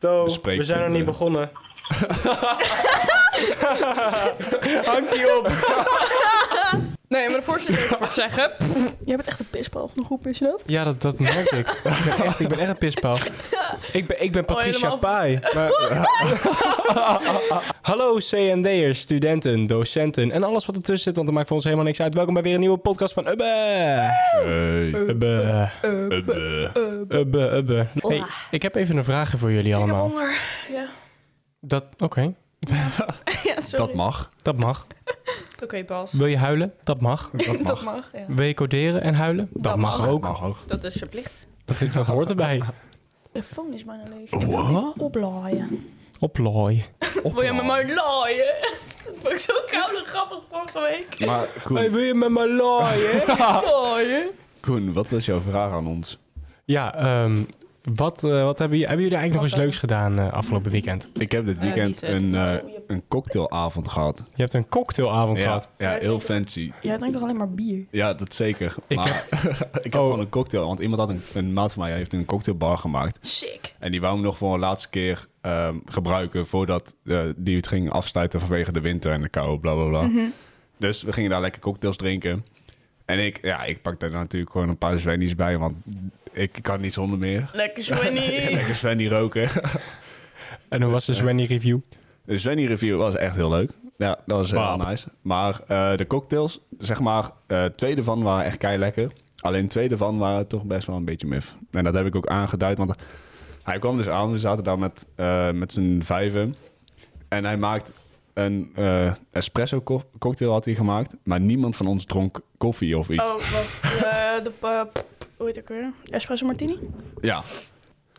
Zo, we zijn nog bespreekpunten. niet begonnen. Hangt die op. Nee, maar de voorste wil ik voor zeggen. Jij bent echt een pispal van de groep, weet je dat? Ja, dat, dat merk ik. Ik ben echt, ik ben echt een pispaal. Ik ben, ik ben Patricia Oh, helemaal- Pai. Maar- Hallo CND'ers, studenten, docenten en alles wat ertussen zit, want dat maakt voor ons helemaal niks uit. Welkom bij weer een nieuwe podcast van Ubbe. Hey. Ubbe, Ubbe. Ubbe, Ubbe. Hey, Hola. ik heb even een vraag voor jullie Ik heb Oh. allemaal. honger. Ja, Dat, oké, ja sorry. Dat mag. dat mag. Oké, Bas. Wil je huilen? Dat mag. Dat mag. ja. Wil je coderen en huilen? Dat, Dat mag, mag. ook. Mag ook. Dat is verplicht. Dat, dat hoort erbij. De telefoon is bijna leeg. Wat? Oplaaien. Oplooi. Wil je met mij laaien? Dat vond ik zo koud en grappig vorige week. Maar Hey, Koen, wil je met me laaien? Ah. Laaien? Koen, wat was jouw vraag aan ons? Ja, ehm, wat, eh, wat hebben, jullie, hebben jullie eigenlijk nog eens Wat dan? leuks gedaan eh, afgelopen weekend? Ik heb dit Eh, die weekend zegt- een, eh, een cocktailavond gehad. Je hebt een cocktailavond Ja, gehad. ja, heel fancy. Jij drinkt toch alleen maar bier? Ja, dat zeker. Ik maar ik heb Oh. gewoon een cocktail. Want iemand had een, een maat van mij heeft een cocktailbar gemaakt. Sick. En die wou hem nog voor een laatste keer ehm, gebruiken voordat eh, die het ging afsluiten vanwege de winter en de kou, bla bla bla. Dus we gingen daar lekker cocktails drinken. En ik, ja, ik pakte daar natuurlijk gewoon een paar Zwennies bij, want ik kan niet zonder meer. Lekker Swenny. Lekker Zwennie roken. En hoe was Dus, de eh, Swenny review? De Zwenny review was echt heel leuk. Ja, dat was heel Waap. nice. Maar eh, de cocktails, zeg maar, eh twee ervan waren echt kei lekker. Alleen twee ervan waren toch best wel een beetje mif. En dat heb ik ook aangeduid, want hij kwam dus aan. We zaten daar met, eh, met z'n vijven. En hij maakt een eh, espresso co- cocktail had hij gemaakt. Maar niemand van ons dronk koffie of iets. Oh, wat? eh, de... eh, hoe heet ik weer? Espresso Martini? Ja,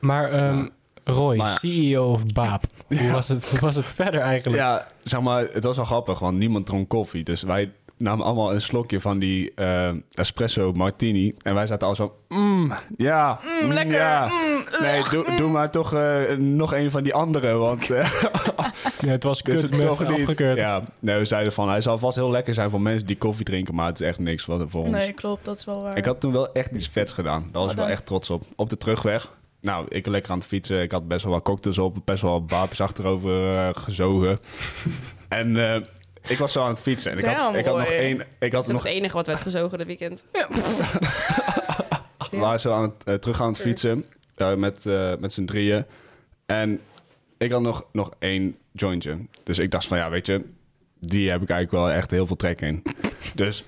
Maar ehm, Roy, Maar ja. CEO of Baap, hoe was het, hoe was het verder eigenlijk? ja, zeg maar, het was wel grappig, want niemand dronk koffie. Dus wij namen allemaal een slokje van die eh, espresso martini. En wij zaten al zo, mm, ja. Mm, mm, lekker. ja. Mm, Nee, doe, doe maar toch eh, nog een van die andere, want eh, Nee, het was dit is kut, Dus het maar toch niet. afgekeurd. Ja, nee, we zeiden van, hij zal vast heel lekker zijn voor mensen die koffie drinken, maar het is echt niks voor, voor ons. Nee, klopt. Dat is wel waar. Ik had toen wel echt iets vets gedaan. Daar was Wat ik wel eh, dan? echt trots op. Op de terugweg. Nou, ik lekker aan het fietsen. Ik had best wel wat cocktails op. Best wel wapens achterover eh, gezogen. en eh, ik was zo aan het fietsen. En ik had, Damn, ik had nog Roy. één... Ik Dat had is nog... nog het enige wat werd gezogen dit weekend. We waren zo aan het, eh, terug aan het fietsen. eh, met eh, met z'n drieën. En ik had nog, nog één jointje. Dus ik dacht van, ja, weet je... Die heb ik eigenlijk wel echt heel veel trek in. dus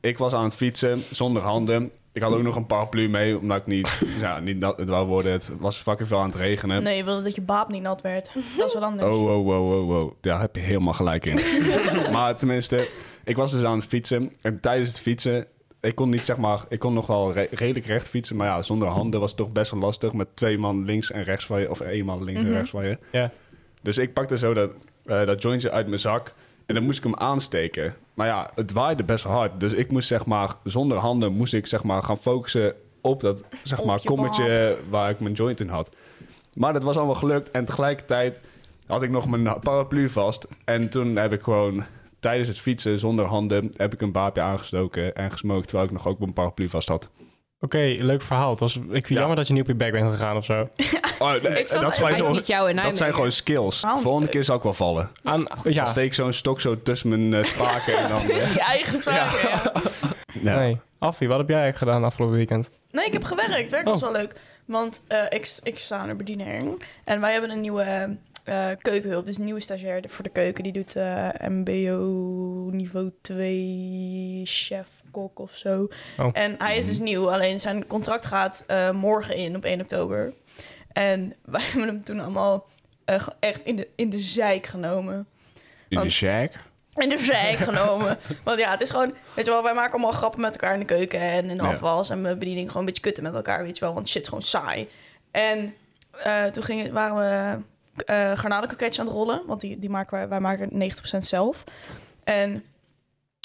ik was aan het fietsen, zonder handen. Ik had ook nog een paraplu mee, omdat ik niet... ja, niet nat het wou worden. Het was fucking veel aan het regenen. Nee, je wilde dat je baap niet nat werd. Dat is wat anders. Oh, oh, oh, oh, oh. Daar heb je helemaal gelijk in. maar tenminste, ik was dus aan het fietsen. En tijdens het fietsen, ik kon niet zeg maar... Ik kon nog wel re- redelijk recht fietsen. Maar ja, zonder handen was het toch best wel lastig. Met twee man links en rechts van je. Of één man links en rechts van je. Ja. Dus ik pakte zo dat, eh, dat jointje uit mijn zak. En dan moest ik hem aansteken. Maar ja, het waaide best wel hard. Dus ik moest zeg maar, zonder handen moest ik zeg maar gaan focussen op dat zeg Op maar je kommetje waar ik mijn joint in had. Maar dat was allemaal gelukt. En tegelijkertijd had ik nog mijn paraplu vast. En toen heb ik gewoon tijdens het fietsen zonder handen heb ik een baapje aangestoken en gesmokt. Terwijl ik nog ook mijn paraplu vast had. Oké, leuk verhaal. Het was, ik vind Ja. jammer dat je niet op je bek bent gegaan of zo. Oh, nee, Ik zat, dat, dat zijn is gewoon- niet jou en dat zijn gewoon skills. Waarom? Volgende keer zal ik wel vallen. Aan, Ja. ja, steek ik zo'n stok zo tussen mijn eh, spaken en dan... Het is je eigen vraag. ja. Ja. nee. Affie, wat heb jij eigenlijk gedaan afgelopen weekend? Nee, ik heb gewerkt. Werk was Oh. wel leuk. Want eh, ik, ik sta aan de bediening. En wij hebben een nieuwe eh, keukenhulp. Dus een nieuwe stagiair voor de keuken. Die doet eh, MBO niveau 2 chef, kok of zo. Oh. En hij is dus nieuw. Alleen zijn contract gaat eh, morgen in op 1 oktober. En wij hebben hem toen allemaal eh, ge- echt in de, in de zeik genomen. In de Want- shack? En de vrij genomen. Want ja, het is gewoon... Weet je wel, wij maken allemaal grappen met elkaar in de keuken en in de Ja. afwas. En we bediening gewoon een beetje kutten met elkaar, weet je wel. Want shit is gewoon saai. En eh, toen gingen, waren we eh garnalenkroketjes aan het rollen. Want die, die maken wij, wij maken 90% zelf. En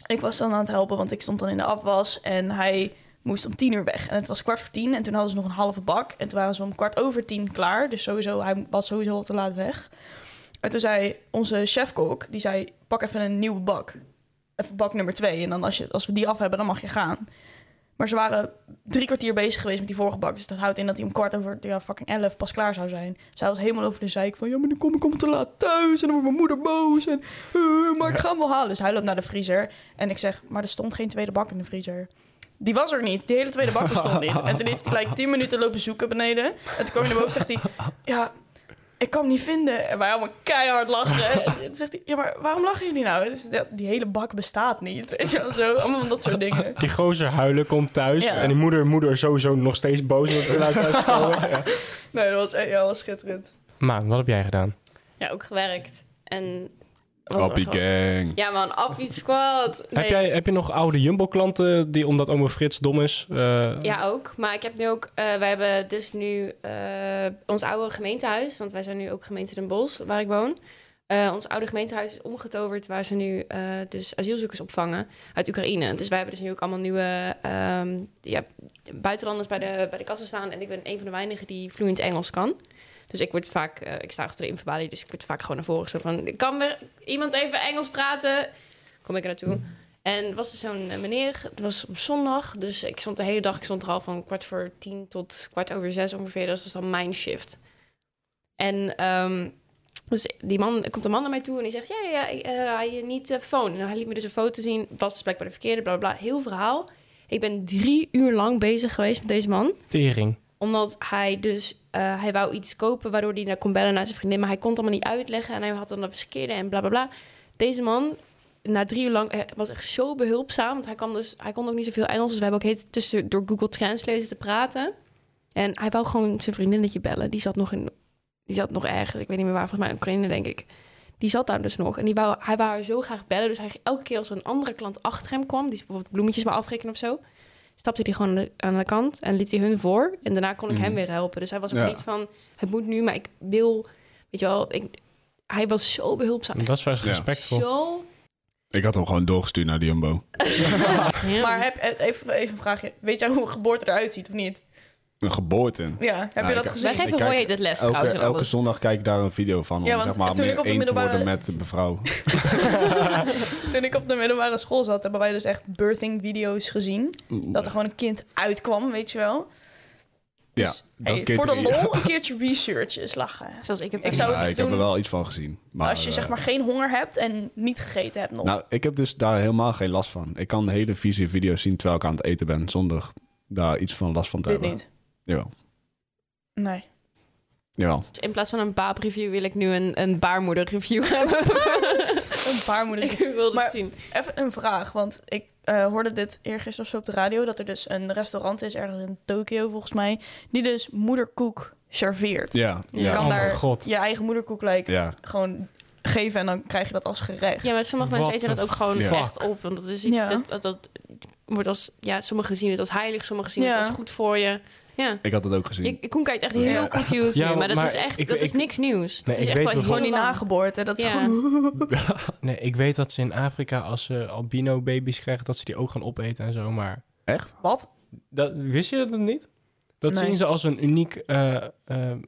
ik was dan aan het helpen, want ik stond dan in de afwas. En hij moest om tien uur weg. En het was kwart voor tien. En toen hadden ze nog een halve bak. En toen waren ze om kwart over tien klaar. Dus sowieso, hij was sowieso al te laat weg. En toen zei onze chefkok, die zei, pak even een nieuwe bak. Even bak nummer twee. En dan als, je, als we die af hebben, dan mag je gaan. Maar ze waren drie kwartier bezig geweest met die vorige bak. Dus dat houdt in dat hij om kwart over ja, fucking elf pas klaar zou zijn. Zij was helemaal over de zeik van... Ja, maar dan kom ik om te laat thuis. En dan wordt mijn moeder boos. En, eh, maar ik ga hem wel halen. Dus hij loopt naar de vriezer. En ik zeg... Maar er stond geen tweede bak in de vriezer. Die was er niet. Die hele tweede bak bestond niet. En toen heeft hij gelijk tien minuten lopen zoeken beneden. En toen kwam hij naar boven zegt hij... Ja, ik kan hem niet vinden. En wij allemaal keihard lachen. En toen zegt hij, ja, maar waarom lachen jullie nou? Het is- ja, die hele bak bestaat niet. Weet je wel, zo. Allemaal dat soort dingen. Die gozer huilen komt thuis. Ja. En die moeder, moeder is sowieso nog steeds boos. omdat we laatst thuis gekomen. Ja. Nee, dat was, echt- ja, dat was schitterend. Maan, wat heb jij gedaan? Ja, ook gewerkt. En Dat was Appie wel gewoon- gang. ja, man, Appie Squad. Nee, Heb, jij, heb je nog oude Jumbo-klanten die omdat oma Frits dom is? eh, Ja, ook. Maar ik heb nu ook... eh, wij hebben dus nu eh, ons oude gemeentehuis. Want wij zijn nu ook gemeente Den Bosch, waar ik woon. Eh, ons oude gemeentehuis is omgetoverd... waar ze nu eh, dus asielzoekers opvangen uit Oekraïne. Dus wij hebben dus nu ook allemaal nieuwe ehm, ja, buitenlanders bij de, bij de kassen staan. En ik ben een van de weinigen die vloeiend Engels kan. Dus ik word vaak... eh, ik sta achter de infobalie, dus ik word vaak gewoon naar voren gestuurd van... Kan er iemand even Engels praten? Kom ik er naartoe. En er was dus zo'n eh, meneer, het was op zondag, dus ik stond de hele dag, ik stond er al van kwart voor tien tot kwart over zes ongeveer, dus dat was dan mijn shift. En ehm, dus die man, er komt een man naar mij toe en die zegt, ja, ja, ja, ik, eh, hij niet de phone. En hij liet me dus een foto zien, was dus blijkbaar de verkeerde, bla, bla, bla. Heel verhaal. Ik ben drie uur lang bezig geweest met deze man Tering. omdat hij dus, eh, hij wou iets kopen waardoor hij naar kon bellen naar zijn vriendin. Maar hij kon het allemaal niet uitleggen en hij had dan dat verkeerde en bla bla bla. Deze man, na drie uur lang, eh, was echt zo behulpzaam. Want hij, kan dus, hij kon ook niet zoveel Engels. Dus we hebben ook heet tussen door Google Translate zitten praten. En hij wou gewoon zijn vriendinnetje bellen. Die zat nog in, die zat nog ergens. Ik weet niet meer waar, volgens mij in Oekraïne denk ik. Die zat daar dus nog. En die wou, hij wou haar zo graag bellen. Dus hij, elke keer als er een andere klant achter hem kwam, die bijvoorbeeld bloemetjes wou afrekenen of zo, stapte hij gewoon aan de, aan de kant en liet hij hun voor. En daarna kon ik hem Mhm. weer helpen. Dus hij was ook Ja. niet van, het moet nu, maar ik wil, weet je wel, ik, hij was zo behulpzaam. Dat is wel eens Ja. respectvol. Zo. Ik had hem gewoon doorgestuurd naar de Jumbo. Maar heb, eh, even, even een vraagje. Weet jij hoe een geboorte eruit ziet of niet? Een geboorte. Ja, heb Nou, je ik- dat gezien? wij geven Kijk, Roy heet het les trouwens. Elke, en elke alles. zondag kijk ik daar een video van om Ja, want zeg maar toen ik meer op de één te worden middelbare- met de mevrouw. Toen ik op de middelbare school zat, hebben wij dus echt birthing video's gezien. Dat er gewoon een kind uitkwam, weet je wel. Dus, ja, dat Hey, kind- voor de lol een keertje research is lachen. Zoals ik heb Ik zou het Ja, niet ik heb er doen wel iets van gezien. Maar, als je eh, zeg maar geen honger hebt en niet gegeten hebt nog. Nou, ik heb dus daar helemaal geen last van. Ik kan hele vieze video's zien terwijl ik aan het eten ben, zonder daar iets van last van te Dit hebben. niet. Jawel. Nee. Jawel. Dus in plaats van een baapreview wil ik nu een, een baarmoederreview hebben. Een paar ik moeilijke. wil het Maar- zien. Even een vraag, want ik eh, hoorde dit eergisteren of zo op de radio... dat er dus een restaurant is, ergens in Tokio volgens mij... die dus moederkoek serveert. Ja. Je ja. kan oh daar- mijn god. Je eigen moederkoek like, Ja. gewoon geven en dan krijg je dat als gerecht. Ja, maar sommige mensen What eten dat the ook gewoon fuck? echt op. Want dat is iets Ja. dat, dat, dat wordt als... Ja, sommigen zien het als heilig, sommigen zien het Ja. als goed voor je. Ja. Ik had dat ook gezien. Ik, Koen kijkt echt Ja. heel confused Ja, nu, maar dat maar is echt ik- dat ik- is niks nieuws. Nee, dat is ik weet echt wel bijvoorbeeld- Gewoon die nageboorte, dat is Ja. gewoon... Nee, ik weet dat ze in Afrika, als ze albino-baby's krijgen, dat ze die ook gaan opeten en zo, maar... Wat? Dat, wist je dat niet? Dat Nee. zien ze als een uniek... eh, eh,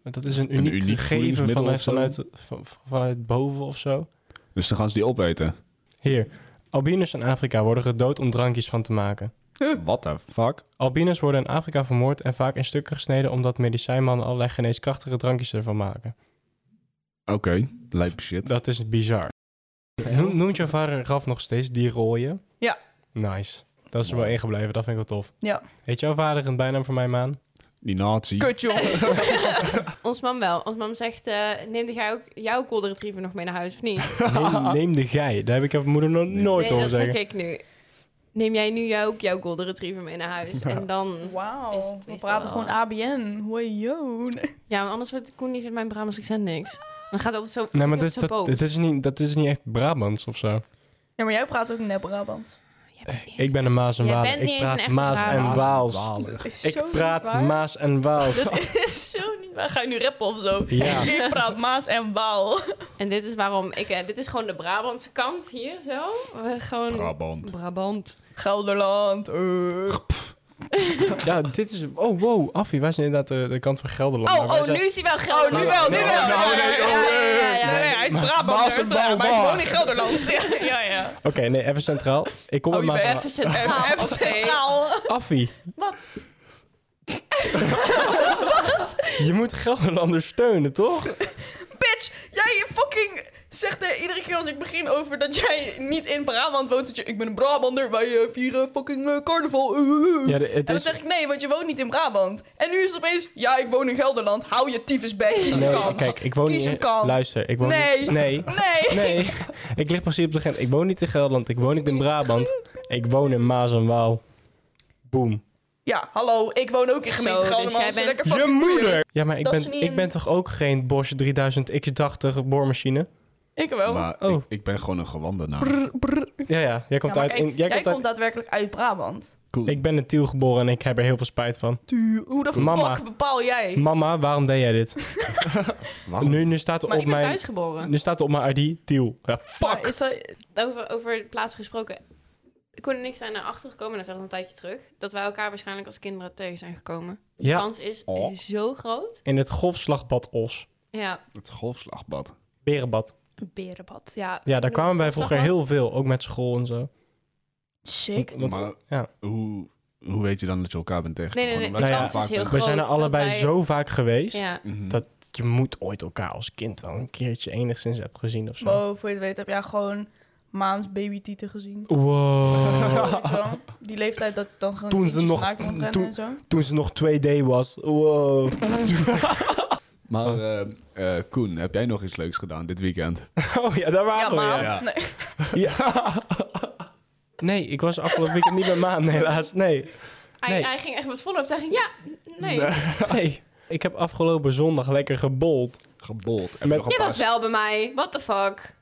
dat is een Een uniek, uniek gegeven voedingsmiddel vanuit, of zo? vanuit, van- vanuit boven of zo. Dus dan gaan ze die opeten. Hier, albinos in Afrika worden gedood om drankjes van te maken. What the fuck? Albinos worden in Afrika vermoord en vaak in stukken gesneden... omdat medicijnmannen allerlei geneeskrachtige drankjes ervan maken. Oké, lijp shit. Dat is bizar. Noem, noemt jouw vader Raf nog steeds die rooie? Ja. Nice. Dat is er wel Mooi. ingebleven, dat vind ik wel tof. Ja. Heet jouw vader een bijnaam voor mij, Maan? Die nazi. Kut, jongen. Ons mam wel. Ons mam zegt, eh, neem jij ook jouw golden retriever nog mee naar huis, of niet? Neem, neem de gij. Daar heb ik mijn moeder nog nooit nee, over dat zeggen. zeg ik nu. Neem jij nu jou ook jouw golden retriever mee naar huis? En dan... Is- Wauw, we is praten wel- gewoon ABN. Hoi, yo. Ja, want anders wordt Koen niet met mijn Brabants accent niks. Dan gaat het altijd zo... Nee, maar wordt dat is, het zo dat, boos. dat is niet, dat is niet echt Brabants of zo. Ja, maar jij praat ook net Brabant. Jij bent niet eens- Ik ben een Maas en Jij Waal. bent niet Ik eens een praat echte Maas en Brabant. Waals. Dat is zo Ik niet praat waar. Maas en Waals. Dat is zo niet waar. Ga je nu rappen of zo? Ja. Ik praat Maas en Waal. En dit is waarom ik... eh, dit is gewoon de Brabantse kant hier, zo. We gewoon... Brabant. Brabant. Gelderland. eh. Ja, dit is... Oh, wow. Affie, wij zijn inderdaad eh, de, de kant van Gelderland. Oh, Maar wij oh, zijn- nu is hij wel Gelderland. Oh, nu wel, nu Nee, wel. ja, ja, ja, ja, ja, ja, ja. Nee, hij is Maar- Brabant. Maar als een maar, maar ik Balbar. woon in Gelderland. ja, ja. ja. Oké, nee, even centraal. Ik kom Oh, er je maar bent van- even Ah, centraal. Even centraal. Affie, Wat? je moet Gelderlanders steunen, toch? Bitch, jij fucking zegt eh, iedere keer als ik begin over dat jij niet in Brabant woont. Dat je, ik ben een Brabander, wij eh, vieren fucking eh, carnaval. eh, eh, eh. Ja, de- het en dan is... zeg ik nee, want je woont niet in Brabant. En nu is het opeens, ja, ik woon in Gelderland. Hou je tyfus bij, kies een Nee, kant. kijk, ik woon Kies niet... een kant. Luister, ik woon Nee. niet... Nee. Nee. Nee, ik lig precies op de grens. Ik woon niet in Gelderland, ik woon niet in Brabant. Ik woon in Maas en Waal. Boom. Ja, hallo, ik woon ook in gemeente Zo, dus Gelderland. jij zo bent- lekker Je fucking boeien. moeder! Ja, maar ik Dat is ben, niet ik een- ben toch ook geen Bosch 3000 X80 boormachine? Ik wel. Maar Oh. ik, ik ben gewoon een gewandenaar. Brr, brr. Ja, ja. Jij komt Ja, maar uit... kijk, in, jij jij komt uit... komt daadwerkelijk uit Brabant. Cool. Ik ben in Tiel geboren en ik heb er heel veel spijt van. Tuur, Hoe de Mama. fuck bepaal jij? Mama, waarom deed jij dit? Waarom? Nu, nu staat er Maar op ik ben mijn... thuis geboren. Nu staat er op mijn ID Tiel. Ja, Maar fuck! is dat, Over, over plaatsen gesproken. Ik kon er niks aan naar achter gekomen, dat is echt al een tijdje terug. Dat wij elkaar waarschijnlijk als kinderen tegen zijn gekomen. De Ja. kans is Oh. zo groot. In het golfslagbad Os. Ja, Het golfslagbad. Berenbad. een berenbad. Ja, Ja, daar kwamen wij vroeger Golfslagbad. heel veel. Ook met school en zo. sick. Want- maar ja. hoe, hoe weet je dan dat je elkaar bent Nee, nee, tegengekomen? nee, de Omdat je kans vaak is heel bent- We zijn er groot allebei dat wij- zo vaak geweest. Ja. Mhm. Dat- Je moet ooit elkaar als kind wel een keertje enigszins hebben gezien of zo. Wow, voor je het weet heb jij gewoon maans babytieten gezien. Wow. Weet je wel? Die leeftijd dat dan gewoon Oh. Toen ze kindjes nog- naakt rondrennen toen- en zo. Toen ze nog 2D was. Wow. Maar eh, eh, Koen, heb jij nog iets leuks gedaan dit weekend? Oh ja, daar Ja, waren maar... we. ja. Nee. Ja. Ja. Nee, ik was afgelopen weekend niet bij Maan, helaas. Nee. Hij, Nee. hij ging echt met volle overtuiging. Ja, n- nee. Je nee. Ik heb afgelopen zondag lekker gebold. Gebold. Heb je Met- nog een paar was wel bij mij. What the fuck?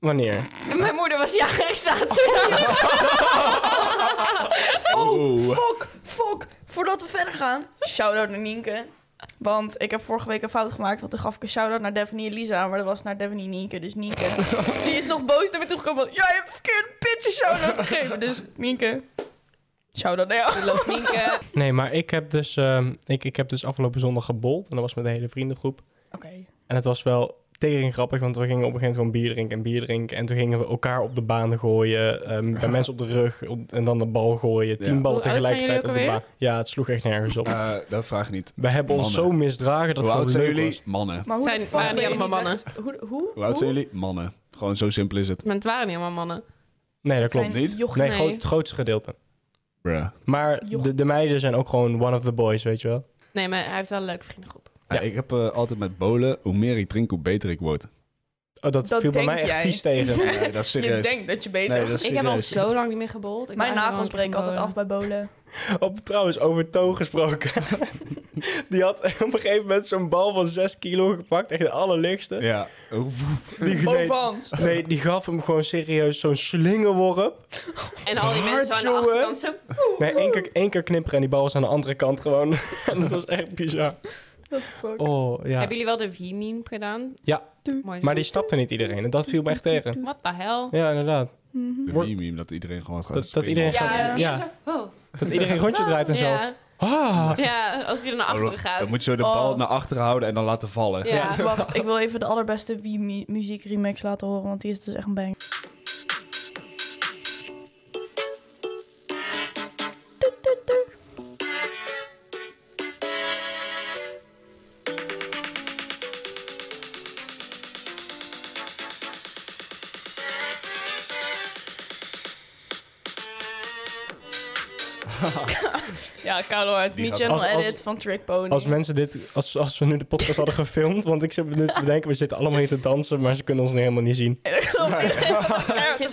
Wanneer? En mijn moeder was jarig zaterdag. Oeh. Fok, fok, voordat we verder gaan. Shout-out naar Nienke. Want ik heb vorige week een fout gemaakt, want toen gaf ik een shout-out naar Daphne en Lisa, maar dat was naar Daphne en Nienke, dus Nienke. Die is nog boos naar me toegekomen van, jij hebt verkeerd bitch een shout-out gegeven. Dus Nienke, shout-out naar jou. Loopt Nienke. Nee, maar ik heb dus, ehm, ik, ik heb dus afgelopen zondag gebold. En dat was met de hele vriendengroep. Oké. En het was wel tering grappig, want we gingen op een gegeven moment gewoon bier drinken en bier drinken. En toen gingen we elkaar op de baan gooien, ehm, bij mensen op de rug op- en dan de bal gooien. Tien Ja. ballen Hoe oud zijn jullie tegelijkertijd ook op de alweer? baan. Ja, het sloeg echt nergens op. Eh, dat vraag ik niet. we hebben ons mannen. zo misdragen dat hoe het oud gewoon zijn leuk jullie? was. Mannen. Maar hoe Zijn- de fuck waren ben die je allemaal niet weg- Hoe, hoe, Hoe oud zijn jullie? Mannen. Gewoon zo simpel is het. Maar het waren niet allemaal mannen. Nee, dat Het klopt. zijn niet. jochies. Nee, Nee. groot- het grootste gedeelte. Bruh. Maar Joch. de, de meiden zijn ook gewoon one of the boys, weet je wel. Nee, maar hij heeft wel een leuke vriendengroep. Ja, ik heb eh, altijd met bolen, hoe meer ik drink, hoe beter ik word. Oh, dat, Dat viel bij denk mij echt jij. vies tegen. Nee, dat is Je serieus. denkt dat je beter... Nee, dat is Ik heb al serieus. zo lang niet meer gebold. Ik Mijn ben nagels eigenlijk breken wel altijd af bij een bolen. Op, trouwens, over Toon gesproken. Die had op een gegeven moment zo'n bal van 6 kilo gepakt. Echt de allerlichtste. Ja. Oef. Oh, Die, nee, Bovenhands. Nee, die gaf hem gewoon serieus zo'n slingerworp. vriendenbolen. En al die mensen zo aan de Hard, jongen. achterkant zo... Nee, één keer, één keer knipperen en die bal was aan de andere kant gewoon. en dat was echt bizar. fuck? Oh, ja. Hebben jullie wel de V-meme gedaan? Ja. Mooi zo. Maar die stapte niet iedereen en dat viel me echt tegen. What the hell? Ja, inderdaad. De Wordt- meme dat iedereen gewoon gaat Dat, dat springen. iedereen Ja, oh. gaat... ja. Ja, Zo, wow. dat iedereen een rondje draait en zo. Ja. Ah. ja, als hij er naar Oh, achteren gaat. Dan moet je zo de bal Oh. naar achteren houden en dan laten vallen. Ja. Wacht, ik wil even de allerbeste Wii muziek remix laten horen, want die is dus echt een bang. Ja, Carlo uit Die Me gaat- Channel Als- als- Edit van Trick Pony. Als mensen dit, als, als we nu de podcast hadden gefilmd, want ik zit nu te bedenken, we zitten allemaal hier te dansen, maar ze kunnen ons nu helemaal niet zien. Er zit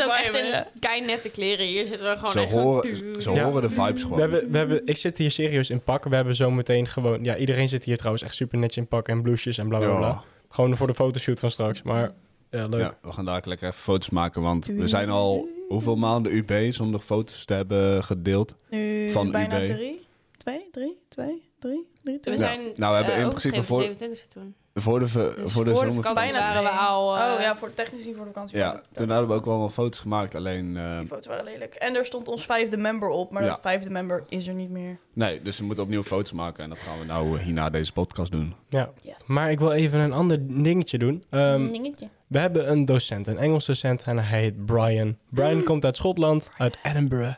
ook echt in kei nette kleren. Hier zitten we gewoon Ze, echt horen, ze Ja. horen de vibes We gewoon. hebben, we hebben, ik zit hier serieus in pak. We hebben zo meteen gewoon, ja, iedereen zit hier trouwens echt super netjes in pak en blouses en bla bla bla. Ja. Gewoon voor de fotoshoot van straks. Maar ja, leuk. Ja, we gaan dadelijk lekker even foto's maken, want we zijn al hoeveel maanden UB zonder foto's te hebben gedeeld. Nu Van bijna UB. drie. Twee, drie, twee. Drie? Drie? We twee? Ja. zijn Nou, we hebben eh, in principe overgeschreven voor- 27 toen. Voor de, ve- Dus voor de voor de zomer. vakantie. Bijna Bijna waren we twee. al... eh, Oh, oh ja, ja, voor, technisch gezien voor de vakantie. Ja, toen hadden we ook wel wat foto's gemaakt. Alleen, eh, Die foto's waren lelijk. En er stond ons vijfde member op, maar Ja. dat vijfde member is er niet meer. nee, dus we moeten opnieuw foto's maken. En dat gaan we nou eh, hierna deze podcast doen. Ja. Yes. Maar ik wil even een ander dingetje doen. Ehm, Dingetje. we hebben een docent, een Engels docent, en hij heet Brian. Brian komt uit Schotland, uit Edinburgh.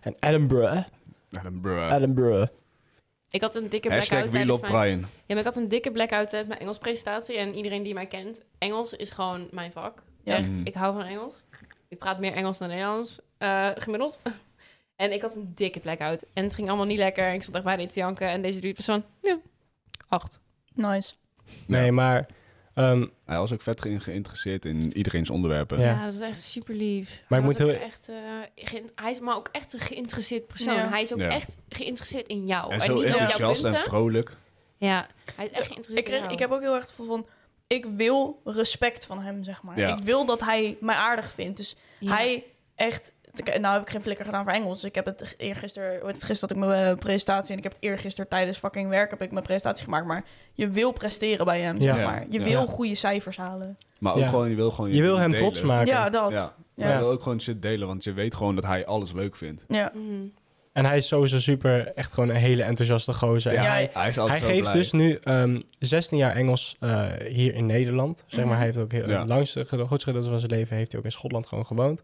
En Edinburgh, En dan, bruh. Edinburgh. Ik had een dikke Hashtag blackout We tijdens Love mijn... Ja, Brian. maar ik had een dikke blackout tijdens mijn Engels presentatie. En iedereen die mij kent, Engels is gewoon mijn vak. Ja. Echt, Mm. Mhm. ik hou van Engels. Ik praat meer Engels dan Nederlands, eh, gemiddeld. en ik had een dikke blackout. En het ging allemaal niet lekker. Ik stond echt bijna iets te janken. En deze dude was van, ja, acht. Nice. Nee, maar ehm, Hij was ook vet ge- geïnteresseerd in iedereen's onderwerpen. Ja. Ja, dat was echt super lief. Maar hij, ik was moet ook echt, eh, geïn- hij is maar ook echt een geïnteresseerd persoon. Ja. Hij is ook Ja. echt geïnteresseerd in jou. En Oh, En, zo niet over jouw enthousiast en punten. vrolijk. ja, hij is echt Ik, geïnteresseerd in kreeg, jou. ik heb ook heel erg het gevoel van... Ik wil respect van hem, zeg maar. Ja. Ik wil dat hij mij aardig vindt. Dus Ja. hij echt... Nou heb ik geen flikker gedaan voor Engels. Dus ik heb het eergisteren... want Gisteren had ik mijn eh, presentatie... en ik heb het eergisteren tijdens fucking werk... heb ik mijn presentatie gemaakt. Maar je wil presteren bij hem, Ja. zeg maar. Je Ja. wil Ja. goede cijfers halen. Maar ook Ja. gewoon, je wil gewoon... je wil hem delen. trots maken. Ja, dat. Ja. Ja. Maar je wil ook gewoon shit delen, want je weet gewoon dat hij alles leuk vindt. Ja. Mhm. En hij is sowieso super, echt gewoon een hele enthousiaste gozer. En Ja, hij, Hij is altijd hij zo geeft blij. dus nu ehm, 16 jaar Engels eh, hier in Nederland. Zeg maar, Mhm. hij heeft ook heel, Ja. het langste, ged- grootste gedeelte van zijn leven heeft hij ook in Schotland gewoon gewoond.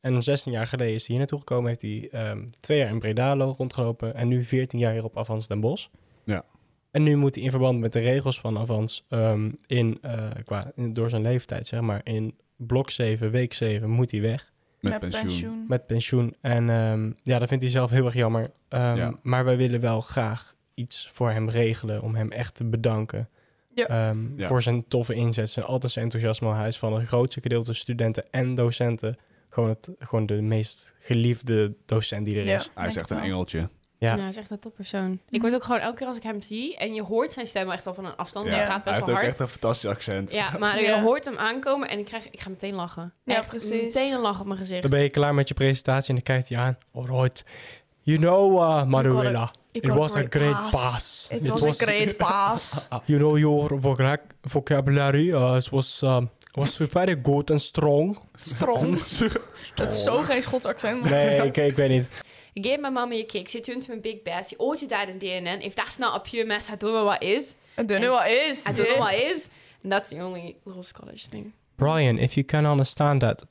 En 16 jaar geleden is hij hier naartoe gekomen. Heeft hij ehm, twee jaar in Bredalo rondgelopen. En nu 14 jaar hier op Avans Den Bosch. Ja. En nu moet hij in verband met de regels van Avans ehm, in, eh, qua, in- door zijn leeftijd, zeg maar, in blok 7, week 7 moet hij weg Met pensioen. met pensioen. En ehm, ja, dat vindt hij zelf heel erg jammer. Ehm, Ja. Maar wij willen wel graag iets voor hem regelen om hem echt te bedanken. Ja. Ehm, Ja. Voor zijn toffe inzet, zijn altijd zijn enthousiasme. Hij is van het grootste gedeelte studenten en docenten. Gewoon, het, gewoon de meest geliefde docent die er Ja, is. Hij is denk echt een wel. engeltje. Ja. Ja. hij Nou, is echt een toppersoon. Ik word ook gewoon elke keer als ik hem zie en je hoort zijn stem echt wel van een afstand. Ja. Hij Hij praat eh, best heeft wel ook hard. echt een fantastisch accent. Ja, maar je Ja. hoort hem aankomen en ik, krijg, ik ga meteen lachen. Ja, Echt precies. Meteen een lach op mijn gezicht. Dan ben je klaar met je presentatie en dan kijkt hij aan. Alright, you know uh, Maruela, it was a great pass. uh, It was a great pass. You know your vocac- vocabulary uh, it was, um, was very good and strong. Strong. Dat is zo geen Schots accent. maar- Nee, ik, ik weet niet. Give my mommy a kick. She turned to a big bass. She ordered that in DNN. If that's not a pure mess, I don't know what is. I don't know what is. I don't know what is. And that's the only little Scottish thing. Brian, if you can understand that.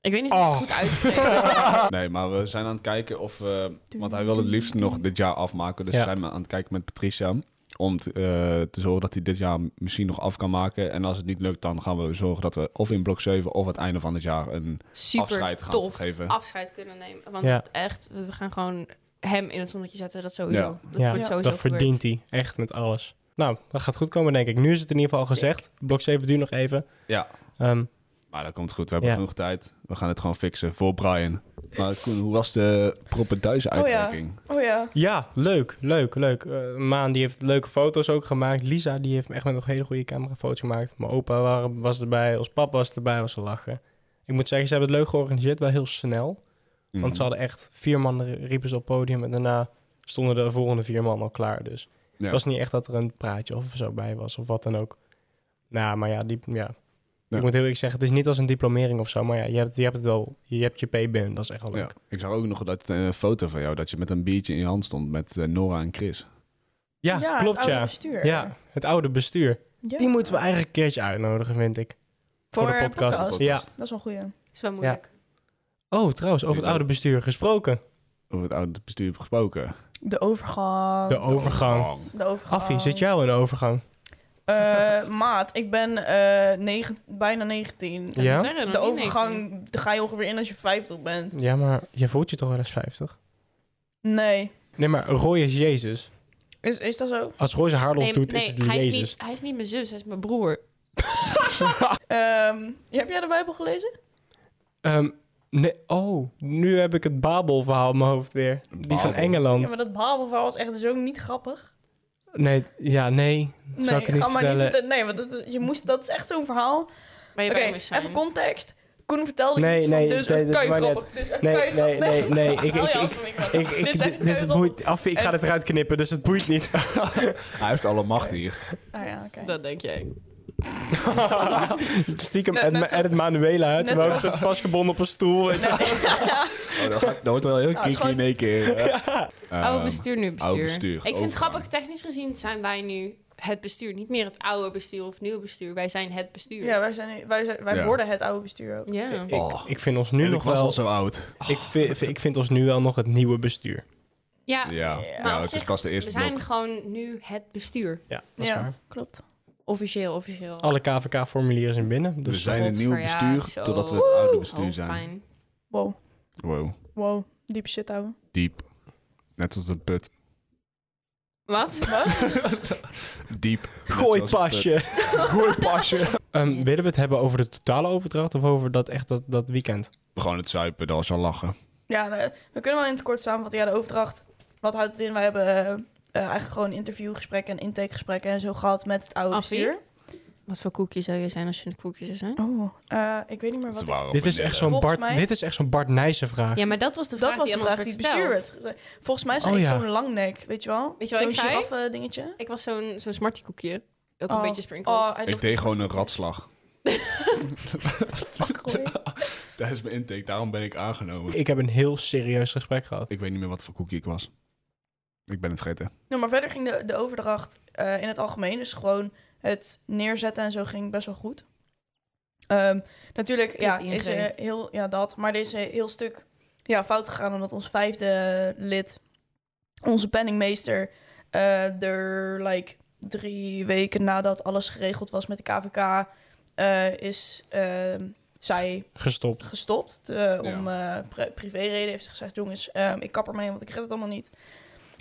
Ik weet niet of ik Oh. het goed uitspreek. Nee, maar we zijn aan het kijken of... eh, want hij wil het liefst nog dit jaar afmaken. Dus Ja. we zijn aan het kijken met Patricia. Om te, eh, te zorgen dat hij dit jaar misschien nog af kan maken. En als het niet lukt, dan gaan we zorgen dat we of in blok 7 of het einde van het jaar een Super afscheid gaan tof. Ah. geven. Afscheid kunnen nemen. Want Ja. echt, we gaan gewoon hem in het zonnetje zetten. Dat sowieso. Ja. Dat Ja, wordt Ja. sowieso Dat verdient hij echt met alles. Nou, dat gaat goed komen, denk ik. Nu is het in ieder geval al Sick. gezegd. Blok 7 duurt nog even. Ja. Ehm, Maar dat komt goed. We hebben Ja. genoeg tijd. We gaan het gewoon fixen voor Brian. Maar Koen, hoe was de proppe duizenuitreiking? Oh ja. ja, leuk, leuk, leuk. Eh, Maan die heeft leuke foto's ook gemaakt. Lisa die heeft echt met nog hele goede camerafoto's gemaakt. Mijn opa waren- was erbij, ons papa was erbij, was te lachen. Ik moet zeggen, ze hebben het leuk georganiseerd, wel heel snel. Mhm. Want ze hadden echt vier man r- riepen ze op het podium en daarna stonden de volgende vier man al klaar. Dus Ja. het was niet echt dat er een praatje of zo bij was of wat dan ook. Nou, maar ja, die, ja. Ja. ik moet heel eerlijk zeggen, het is niet als een diplomering of zo, maar ja, je hebt, je hebt het wel, je hebt je P-bin, dat is echt wel Ja. leuk. Ik zag ook nog dat eh, foto van jou dat je met een biertje in je hand stond met eh, Nora en Chris. Ja, het klopt oude ja. bestuur. Ja, het oude bestuur. Ja. Die moeten we eigenlijk een keertje uitnodigen, vind ik. Voor, de podcast. podcast. Ja. Dat is wel een goeie. Is wel moeilijk. Oh, trouwens, over het oude bestuur gesproken. Over het oude bestuur gesproken. De overgang. De Oh. overgang. De overgang. Affie, zit jou in de overgang? Eh, maat, ik ben eh, negen- bijna 19. Kan Ja? ik zeggen, De nog niet overgang daar ga je ongeveer in als je 50 bent. Ja, maar je voelt je toch wel eens 50? Nee. Nee, maar Roy is Jezus. Is, is dat zo? Als Roy zijn haar los Nee, doet, nee, is het hij, Jezus. is niet, hij is niet mijn zus, hij is mijn broer. Ehm, heb jij de Bijbel gelezen? Ehm, nee, oh, nu heb ik het Babel-verhaal in mijn hoofd weer. Die van Babel. Engeland. Ja, maar dat Bijbelverhaal was echt zo niet grappig. Nee, ja, nee. Nee, Zou ik het niet ga maar vertellen? niet vertellen. Nee, want dat, is- je moest, dat is echt zo'n verhaal. Maar je Oké, bij moest zijn. even context. Koen vertelde Nee, iets nee, van, dus nee, echt dit wou keigrappig. Dus echt Nee, keigrappig. nee, nee, nee, ik- Haal je ik- af van mijn Ik, kant. ik, Dit dit is echt keigrappig. boeit, af, ik ga het eruit knippen, dus het boeit niet. Hij heeft alle macht hier. Ah ja, oké. Dat denk jij. Stiekem Net- en net edit, zo- Manuela uit, net terwijl ik zoals- zit vastgebonden op een stoel. weet je. Oh, dat, gaat- dat wordt wel heel het Nou, is kinky in één keer. hè? Ehm, oude bestuur, nu bestuur. oude bestuur, ik vind het overgang. grappig, technisch gezien zijn wij nu het bestuur. Niet meer het oude bestuur of nieuw bestuur. Wij zijn het bestuur. Ja, wij, zijn, nu- wij, zijn, wij Ja. worden het oude bestuur ook. Ja. Ik, Oh. ik vind ons nu en ik nog was wel... al zo oud. Ik, vind, ik vind ons nu wel nog het nieuwe bestuur. Ja, Ja, Maar ja op het is zich, pas de we eerste zijn blok. gewoon nu het bestuur. Ja, dat is Ja. waar. Klopt. Officieel, officieel. Alle KVK-formulieren zijn binnen. We Dus zijn het nieuwe Godver, ja, bestuur, zo. totdat we het oude bestuur Oh, zijn. fijn. Wow. Wow, Wow. Diepe shit, ouwe. diep. Net als een put. Wat? Diep. Net gooi zoals een pasje. put. Gooi pasje. Ehm, willen we het hebben over de totale overdracht of over dat echt dat, dat weekend? Gewoon het zuipen, dat was al lachen. Ja, nou, we kunnen wel in het kort samenvatten. Ja, de overdracht. Wat houdt het in? Wij hebben eh, eh, eigenlijk gewoon interviewgesprekken en intakegesprekken en zo gehad met het oude Affie? bestuur. Wat voor koekje zou je zijn als je een koekje zou zijn? Oh, eh, ik weet niet meer Dat is wat. ik- waar, Dit is, vanille. echt zo'n Volgens Bart, mij- dit is echt zo'n Bart Nijssen vraag. Ja, maar dat was de vraag Dat was die de aan ons vraag die het werd bestuur verteld. werd gezegd. Volgens mij is Oh, ik ja. zo'n langnek, weet je wel? Weet je wel, zo'n ik zei- giraffe dingetje. Ik was zo'n zo'n smartie koekje. Ook een Oh. beetje sprinkles. Oh, hij Ik loopt deed dus- gewoon een ratslag. Fuck, hoor. Tijdens mijn intake, daarom ben ik aangenomen. Ik heb een heel serieus gesprek gehad. Ik weet niet meer wat voor koekje ik was. Ik ben het vergeten. Nou, maar verder ging de, de overdracht eh, in het algemeen. Dus gewoon het neerzetten en zo ging best wel goed. Ehm, natuurlijk, ja, ING. is eh, heel, ja, dat. Maar er is een heel stuk ja, fout gegaan omdat ons vijfde lid, onze penningmeester, eh, er like, drie weken nadat alles geregeld was met de KVK, eh, is ehm, zij Gestopt. gestopt. eh, Om eh pri- privéreden heeft ze gezegd: jongens, ehm, ik kap ermee, want ik red het allemaal niet.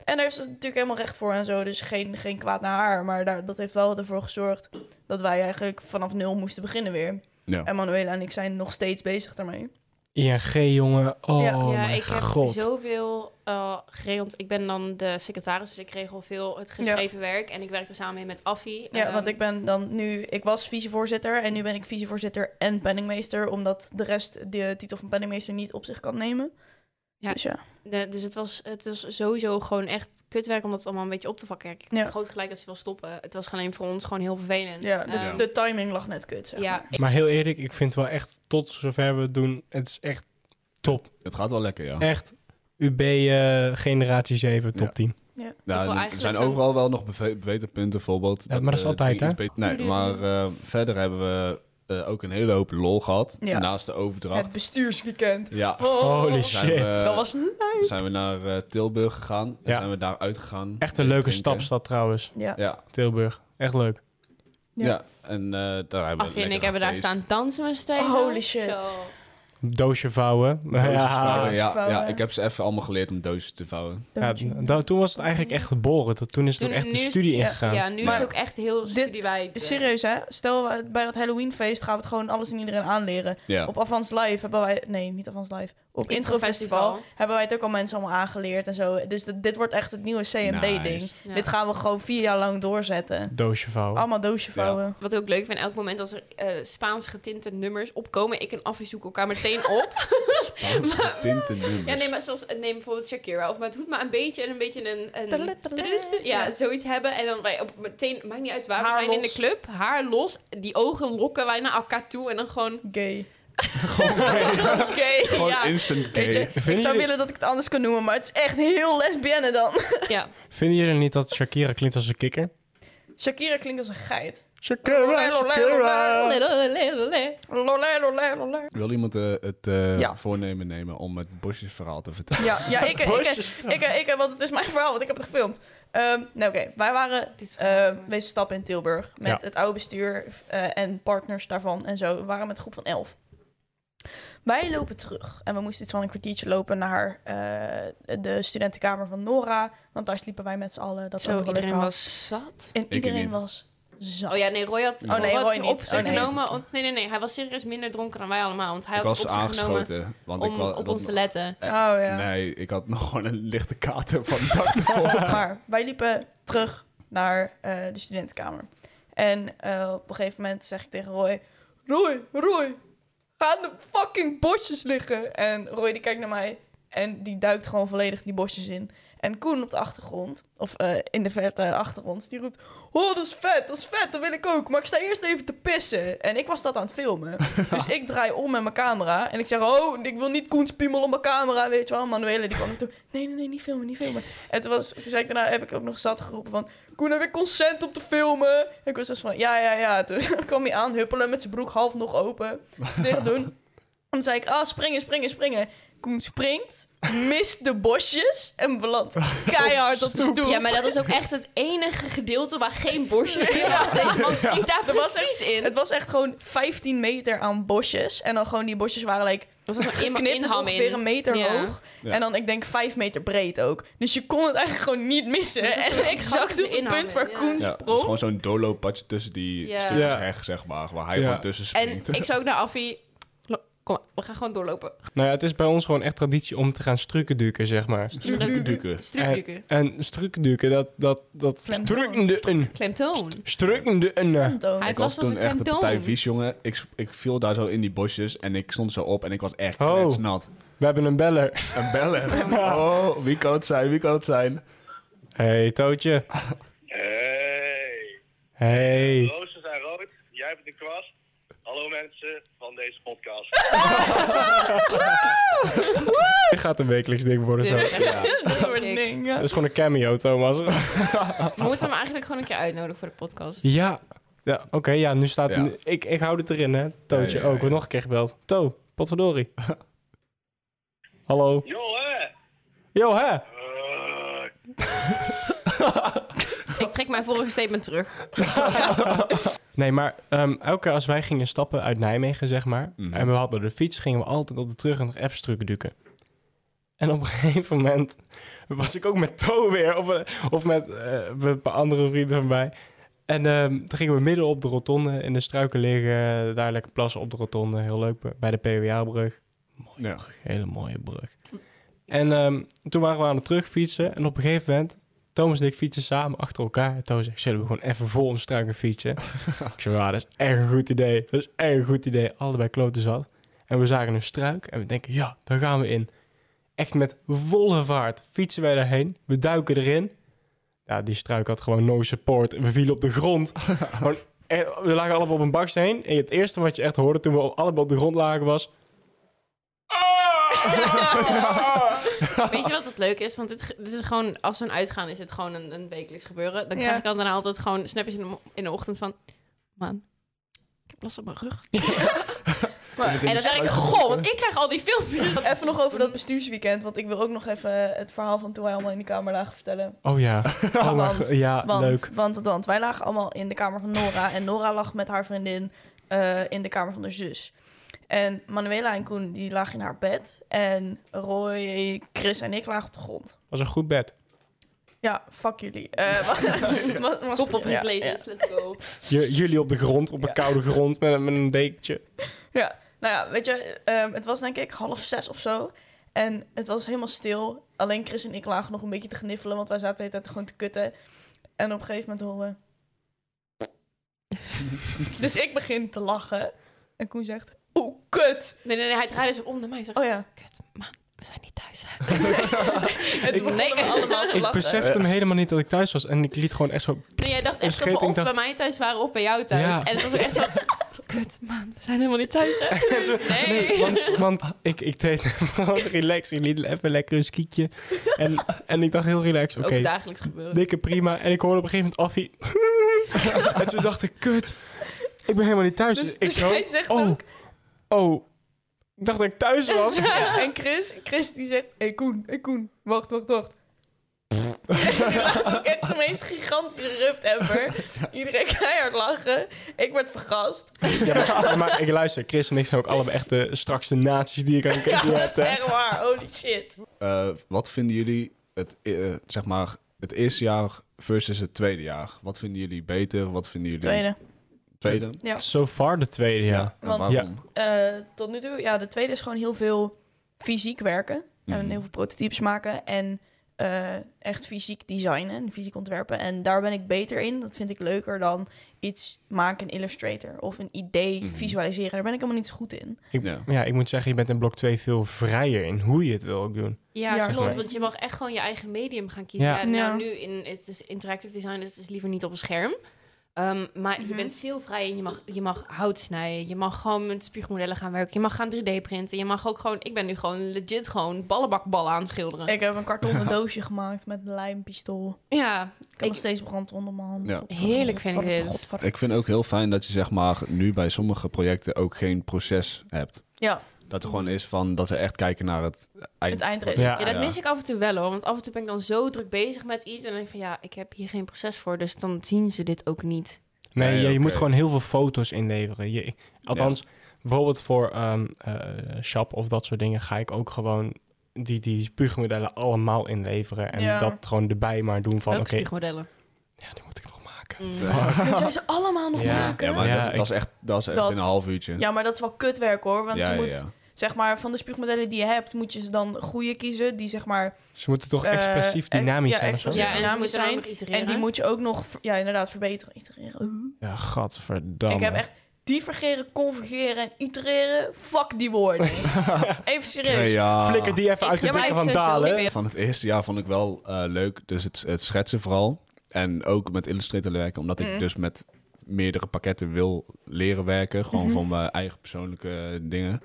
En daar heeft ze natuurlijk helemaal recht voor en zo. Dus geen, geen kwaad naar haar. Maar daar, dat heeft wel ervoor gezorgd dat wij eigenlijk vanaf nul moesten beginnen weer. Ja. En Manuela en ik zijn nog steeds bezig daarmee. ING, jongen. Oh, Ja. ja, mijn ik heb god. zoveel eh, geregeld. Ik ben dan de secretaris, dus ik regel veel het geschreven werk. En ik werk er samen mee met Affie. Ja, Ehm, want ik ben dan nu... Ik was vicevoorzitter en nu ben ik vicevoorzitter en penningmeester. Omdat de rest de titel van penningmeester niet op zich kan nemen. Ja. Dus ja. de- dus het was, het was sowieso gewoon echt kutwerk om dat allemaal een beetje op te vakken. Ik Ja. heb groot gelijk dat ze wil stoppen. Het was alleen voor ons gewoon heel vervelend. ja, de, Ehm, de timing lag net kut, zeg ja, maar. ik- Maar heel eerlijk, ik vind wel echt tot zover we het doen, het is echt top. Het gaat wel lekker, ja. Echt UB eh, generatie 7, top Ja. 10. Ja, wil en er eigenlijk zijn zo'n- overal wel nog beve- beterpunten, bijvoorbeeld. maar dat is eh, altijd, dingen hè? iets beter- Nee, maar eh, verder hebben we eh, ook een hele hoop lol gehad. Ja. Naast de Het overdracht. bestuursweekend. Ja. Holy Zijn Oh, shit. we- dat was... zijn we naar eh, Tilburg gegaan. En Ja. zijn we daar uitgegaan. Echt een leuke Drinken. stapstad trouwens, Ja. Ja, Tilburg. Echt leuk. ja. Ja. en eh, daar hebben we Affie en lekker ik hebben daar gefeest. staan dansen met z'n tweeën. Holy shit. Zo. Doosje vouwen. Doosjes ja. vouwen, ja, Vouwen. ja, ik heb ze even allemaal geleerd om doosjes te vouwen. Ja, Ehm, dat, toen was het eigenlijk echt geboren. Dat, toen is het ook Toen- echt de nu is- studie ja, ingegaan. Ja, nu is Maar- het ook echt heel Dit- studiewijd. eh. Serieus, hè? Stel, we- bij dat Halloweenfeest gaan we het gewoon alles en iedereen aanleren. Ja, Op Avans Live hebben wij... Nee, niet Avans Live. Op Intro Intro Festival Festival. hebben wij het ook al mensen allemaal aangeleerd en zo. Dus dit- dit wordt echt het nieuwe CMD-ding. Nice. Ja. Dit gaan we gewoon vier jaar lang doorzetten. Doosje Oh. vouwen. Allemaal doosje vouwen. Wat ik ook leuk vind, elk moment als er eh, Spaans getinte nummers opkomen, ik en Affie zoeken elkaar meteen op. Spaans getinte nummers. ja, nee, maar zoals eh, neem bijvoorbeeld Shakira, of maar het hoeft maar een beetje en een beetje een, een ja, zoiets hebben en dan wij op meteen maakt niet uit waar Haar we zijn in los. de club, haar los, die ogen lokken wij naar elkaar toe en dan gewoon Gay. oké, Gewoon ja, instant gay. Weet je, Vind ik zou jullie- willen dat ik het anders kan noemen, maar het is echt heel lesbienne dan. ja. Vinden jullie niet dat Shakira klinkt als een kikker? Shakira klinkt als een geit. Shakira, Shakira. Lele, lele, lele. Lolé, lolé, lolé. Wil iemand eh, het eh, Ja. voornemen nemen om het bosjesverhaal te vertellen? Ja, ja ik, ik, ik, ik, eh, ik, want het is mijn verhaal, want ik heb het gefilmd. Ehm, nou, oké. Wij waren Dit is eh gewoon- wees stappen in Tilburg met Ja. het oude bestuur eh, en partners daarvan en zo. We waren met een groep van elf. Wij lopen terug en we moesten iets van een kwartiertje lopen naar eh, de studentenkamer van Nora. Want daar sliepen wij met z'n allen. Dat zo ook wel leuk iedereen had. was zat. En iedereen niet. was zat. Oh ja, nee, Roy had, Oh, nee, Roy had Roy zijn niet. op zich Oh, nee. genomen. om- nee, nee, nee, hij was serieus minder dronken dan wij allemaal, want hij ik had het was op zich genomen aangeschoten, want om ik was... op dat- ons te letten. Oh ja. Nee, ik had nog gewoon een lichte kater van de dag ervoor. Maar wij liepen terug naar eh, de studentenkamer. En eh, op een gegeven moment zeg ik tegen Roy... Roy, Roy, gaan de fucking bosjes liggen. En Roy die kijkt naar mij en die duikt gewoon volledig die bosjes in. En Koen op de achtergrond, of eh, in de verte achter ons, die roept... Oh, dat is vet, dat is vet, dat wil ik ook. Maar ik sta eerst even te pissen. En ik was dat aan het filmen. dus ik draai om met mijn camera. En ik zeg, oh, ik wil niet Koens piemel op mijn camera, weet je wel. Manuele, die kwam er toe. Nee, nee, nee, niet filmen, niet filmen. En toen, was, toen zei ik daarna, heb ik ook nog zat geroepen van... Koen, heb ik consent om te filmen? En ik was dus van, ja, ja, ja. Toen kwam hij aan, huppelen met zijn broek half nog open. Dicht doen. En toen zei ik, ah, springen, springen, springen. Koen springt, mist de bosjes en belandt keihard op de stoep. Ja, maar dat is ook echt het enige gedeelte waar geen borstjes in was. Deze man springt daar Er was precies in. Het was echt gewoon 15 meter aan bosjes. En dan gewoon die bosjes waren like, Er was een geknipt, dus inham ongeveer een in. meter Ja. hoog. Ja. En dan, ik denk, 5 meter breed ook. Dus je kon het eigenlijk gewoon niet missen. Het is een En soort exact op praktische het inhaling, punt waar ja. Koen Ja, het is sprong. gewoon zo'n dolo-padje tussen die Ja. stukjes Ja. heg, zeg maar, waar hij Ja. gewoon tussen En springt. ik zou ook naar Affie... Lo- Kom, maar, we gaan gewoon doorlopen. Nou ja, het is bij ons gewoon echt traditie om te gaan strukenduken, zeg maar. Strukenduken. Eh, Strukduken. En strukenduken, dat... dat, dat Klemtoon. strukende een... Klemtoon. Strukende een... eh. Antoon. Hij- Ik was was als toen een echt een klemtoon. partij vies, jongen. Ik, ik viel daar zo in die bosjes en ik stond zo op en ik was echt Oh. nat. We hebben een beller. En bellen. Oh, wie kan het zijn? Wie kan het zijn? Hey, Tootje. Hey, Hey. rozen zijn rood. Jij bent de kwast. Hallo mensen van deze podcast. Dit gaat een wekelijks ding Dus- worden zo. We Ding, Dat Dus- ja. is gewoon een cameo, Thomas. moeten hem eigenlijk gewoon een keer uitnodigen voor de podcast. Ja. Ja, oké, ja, nu staat... Ja. Ik, ik hou dit erin, hè. Tootje Ja, ja, ook. ja, Wordt ja. nog een keer gebeld. To, potverdorie. Hallo. Yo, hè? Yo, hè. Eh, Ik trek mijn vorige statement terug. Nee, maar ehm, elke keer als wij gingen stappen uit Nijmegen, zeg maar, Mhm. en we hadden de fiets, gingen we altijd op de terug en nog even strukenduken. En op een gegeven moment was ik ook met To weer, of, eh, of met eh, een paar andere vrienden van mij. En ehm, toen gingen we midden op de rotonde in de struiken liggen, daar lekker plassen op de rotonde, heel leuk, bij de PWA-brug. Ja. Hele mooie brug. En ehm, toen waren we aan het terugfietsen. En op een gegeven moment, Thomas en ik fietsen samen achter elkaar. En Thomas zegt, zullen we gewoon even vol om struiken fietsen? ik zei, ja, dat is echt een goed idee. Dat is echt een goed idee. Allebei kloten zat. En we zagen een struik en we denken, ja, daar gaan we in. Echt met volle vaart fietsen wij daarheen. We duiken erin. Ja, die struik had gewoon no support. We vielen op de grond. Gewoon, eh, we lagen allemaal op een baksteen. En het eerste wat je echt hoorde toen we allemaal op de grond lagen was... Ah! Weet je wat het leuk is? Want dit, ge- dit is gewoon, als we een uitgaan, is het gewoon een, een wekelijks gebeuren. Dan Ja. krijg ik dan daarna altijd gewoon snapjes in de, mo- in de ochtend van... Man, ik heb last op mijn rug. En dus dan zeg ik, goh, want ik krijg al die filmpjes. Even nog over dat bestuursweekend, want ik wil ook nog even het verhaal van toen wij allemaal in de kamer lagen vertellen. Oh ja. Oh, maar Want- ge- ja, Want, leuk. want, want, want wij lagen allemaal in de kamer van Nora. En Nora lag met haar vriendin eh, in de kamer van haar zus. En Manuela en Koen die lagen in haar bed. En Roy, Chris en ik lagen op de grond. Was een goed bed. Ja, fuck jullie. Eh, wa- was- was- Kop op ja, privileges, let's go. J- jullie op de grond, op een Ja. koude grond met, een- met een dekentje. Ja, Ja. nou ja, weet je, ehm, het was denk ik half zes of zo. En het was helemaal stil. Alleen Chris en ik lagen nog een beetje te gniffelen, want wij zaten de hele tijd gewoon te kutten. En op een gegeven moment horen we- dus ik begin te lachen. En Koen zegt, oh kut. Nee, nee, nee, hij draaide zich om naar mij en zegt... Oh ja. Kut, man, we zijn niet thuis, hè. En toen nee. begonnen we allemaal te Ik lachen. besefte hem helemaal niet dat ik thuis was. En ik liet gewoon echt zo... Nee, jij dacht Een echt dat we scheet, ik of bij dacht- mij thuis waren of bij jou thuis. Ja. En het was ook echt zo... Kut, man, we zijn helemaal niet thuis, hè. Nee. Nee, want, want ik, ik deed hem gewoon relaxed. Ik liet even lekker een skietje. En, en ik dacht heel Het relaxed, is oké, ook dagelijks gebeuren. dikke prima. En ik hoorde op een gegeven moment Affie... en toen dacht ik, kut, ik ben helemaal niet thuis. Dus- Dus, ik dus zo, hij zegt oh, ook- oh, ik dacht dat ik thuis was. Ja, en Chris, Chris die zegt, hey Koen, hey Koen, wacht, wacht, wacht. Ik heb de meest gigantische ruft ever. Iedereen keihard lachen. Ik werd vergast. Ja, maar, ja, maar ik luister, Chris en ik zijn ook allebei echt de strakste naties die ik aan de Ja, kant heb. dat is hè. echt waar. Holy shit. Eh, wat vinden jullie het, eh, zeg maar, het eerste jaar versus het tweede jaar? Wat vinden jullie beter? Wat vinden jullie Tweede. tweede? Ja. So far de tweede, ja. en Want- waarom? Eh, tot nu toe, ja, de tweede is gewoon heel veel fysiek werken. En Mhm. heel veel prototypes maken. En eh, echt fysiek designen, fysiek ontwerpen. En daar ben ik beter in. Dat vind ik leuker dan iets maken in Illustrator of een idee Mhm. visualiseren. Daar ben ik helemaal niet zo goed in. Ik, Ja. ja. ik moet zeggen, je bent in blok 2 veel vrijer in hoe je het wil ook doen. Ja, Ja, klopt. klopt. Want je mag echt gewoon je eigen medium gaan kiezen. Ja. Ja. nou, Ja. nu in, het is interactive design, dus het is liever niet op een scherm. Ehm, maar je Mhm. bent veel vrij en je mag, je mag hout snijden. Je mag gewoon met spiegelmodellen gaan werken. Je mag gaan 3D-printen. Je mag ook gewoon... Ik ben nu gewoon legit gewoon ballenbakballen aan het schilderen. Ik heb een kartonnen doosje gemaakt met een lijmpistool. ja, Ik heb Ik- nog steeds brand onder mijn hand. eh, Ja. Godverdomme, Heerlijk vind ik godverdomme, dit. godverdomme. Ik vind ook heel fijn dat je zeg maar nu bij sommige projecten ook geen proces hebt. Ja, Dat er gewoon is van dat we echt kijken naar het eind. het eindresultaat. Ja. ja, dat mis ik af en toe wel hoor. Want af en toe ben ik dan zo druk bezig met iets. En dan denk ik van ja, ik heb hier geen proces voor. Dus dan zien ze dit ook niet. Nee, Nee, je, je oké. moet gewoon heel veel foto's inleveren. Je, althans, bijvoorbeeld voor ehm eh, shop of dat soort dingen ga ik ook gewoon die, die spuugmodellen allemaal inleveren. En Ja. dat gewoon erbij maar doen van, Ook oké, spiegelmodellen. ja, die moet ik nog maken. Mm. Ja. Kun jij ze allemaal nog Ja. maken? Ja, maar Ja, dat, ik- dat is echt, dat is echt Dat- in een half uurtje. Ja, maar dat is wel kutwerk hoor. Want ja, je ja, moet, ja. zeg maar, van de spuugmodellen die je hebt, moet je ze dan goede kiezen. Die zeg maar. Ze moeten toch Eh, expressief ex- dynamisch ja, zijn of zo? expressief. Ja, en ze Dynamisch moeten zijn. zijn. itereren. En die moet je ook nog, ja, inderdaad, verbeteren. Itereren. Oeh. Ja, gadverdamme. Ik heb echt divergeren, convergeren en itereren. Fuck die woorden. Even serieus. Nee, ja. Flikker die even Ik- uit de ja, maar dikke ik van vind ze Dalen. ongeveer- Van het eerste jaar vond ik wel eh, leuk, dus het, het schetsen vooral. En ook met Illustrator werken, omdat ik Mm. dus met meerdere pakketten wil leren werken. Gewoon Mhm. van mijn eigen persoonlijke eh, dingen.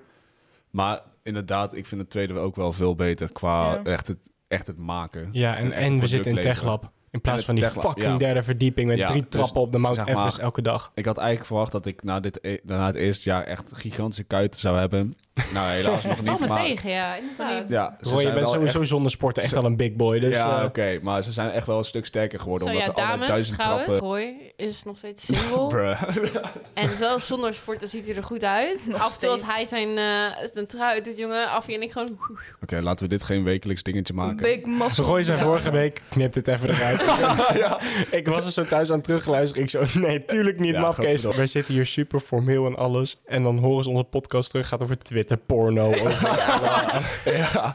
Maar inderdaad, ik vind het tweede ook wel veel beter qua Ja. echt, het, echt het maken. Ja, Een en, echt en we product zitten in leveren. TechLab. In En plaats het van die TechLab, fucking ja. derde verdieping met Ja, drie dus trappen op de Mount zeg maar- Everest elke dag. Ik had eigenlijk verwacht dat ik na, dit, e- na het eerste jaar echt gigantische kuiten zou hebben. Nou, helaas nog Val niet. me Maar, tegen, ja. Inderdaad. ja, ze Roy, je zijn bent wel echt- sowieso zonder sporten echt al een big boy. Dus, ja, eh, oké, maar ze zijn echt wel een stuk sterker geworden. Zo omdat ja, er allerlei dames duizend trouwens. trappen... Roy is nog steeds single. Bruh. en zelfs zonder sporten ziet hij er goed uit. Nog af en toe als steeds. hij zijn, eh, zijn trui uit doet, jongen, af en ik gewoon... "Oh, Oké, laten we dit geen wekelijks dingetje maken. Big muscle. Roy zei Ja. vorige week, knip dit even eruit. Ik was er zo thuis aan teruggeluisterd. Ik zo, nee, tuurlijk niet, Ja, mafkees. godverdomme. Wij zitten hier super formeel en alles. En dan horen ze onze podcast terug. Gaat over Twitter, porno, over,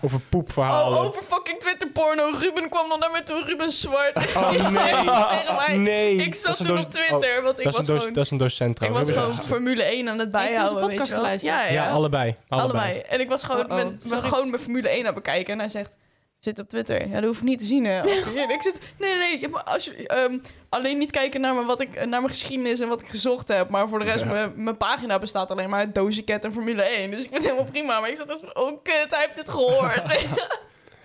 over poepverhalen. Oh, over fucking Twitter porno. Ruben kwam dan naar me toe. Ruben Zwart. Oh, Ik zei nee. tegen mij, nee. Ik Dat zat is een toen doos- op Twitter, want oh, ik dat, is een was doos- gewoon... dat is een docent Ik was trouwens. gewoon Formule 1 aan het bijhouden. podcast weet je wel. geluisterd? Ja, ja. Ja, allebei. allebei. Allebei. En ik was gewoon, Oh, oh, mijn, mijn- sorry. gewoon mijn Formule 1 aan het bekijken. En hij zegt, zit op Twitter. Ja, dat hoef ik niet te zien. Hè. En ik zit, nee, nee, ja, maar als je, ehm, alleen niet kijken naar, mijn- wat ik, naar mijn geschiedenis en wat ik gezocht heb. Maar voor de rest, Ja. mijn, mijn pagina bestaat alleen maar uit Doja Cat en Formule 1. Dus ik vind het helemaal prima. Maar ik zat dus, van, oh kut, hij heeft dit gehoord.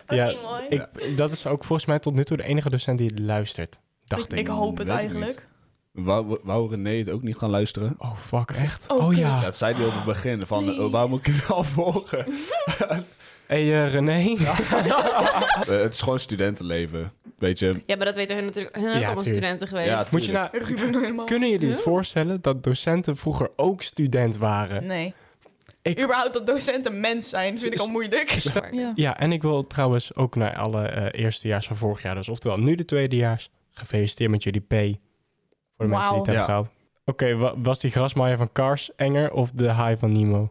Ja, Fucking mooi. ik, dat is ook volgens mij tot nu toe de enige docent die het luistert. Dacht ik. ik hoop het weet ik eigenlijk. Wou, wou René het ook niet gaan luisteren? Oh, fuck, echt? Oh, Oh, kut. ja. Dat zei hij op het begin, van Nee. eh, waar moet ik het al volgen? hey, eh, René. Eh, het is gewoon studentenleven, weet je. Ja, maar dat weten hun natuurlijk. Hun Ja, hebben allemaal tuurlijk. studenten geweest. Ja, Moet je nou, Ruben helemaal. kunnen jullie het voorstellen dat docenten vroeger ook student waren? Nee. Ik- Überhaupt dat docenten mens zijn, vind ik al moeilijk. Ja. Ja, en ik wil trouwens ook naar alle eh, eerstejaars van vorig jaar. Dus oftewel nu de tweedejaars. Gefeliciteerd met jullie P. Voor de mensen die Wauw. het hebben Ja. gehaald. Oké, wa- was die grasmaaier van Cars enger of de haai van Nemo?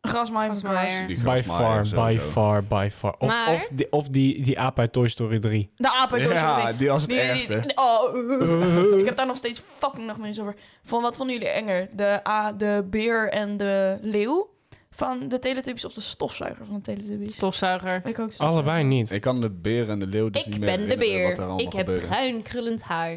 Grasmaaier van Grasmaaier. Kars. Die By grasmaaier far, sowieso. by far, by far. Of, Maar- of, die, of die, die aap uit Toy Story 3. De apen Ja, die was het Die- ergste. die- oh, uh. ik heb daar nog steeds fucking nachtmerries over. Van wat vonden jullie enger? De, A, de beer en de leeuw van de Teletubbies of de stofzuiger van de Teletubbies? Stofzuiger. Ik ook stofzuiger. Allebei niet. Ik kan de beer en de leeuw dus niet Ik meer ben de herinneren wat beer. daar allemaal Ik heb gebeurde. bruin krullend haar.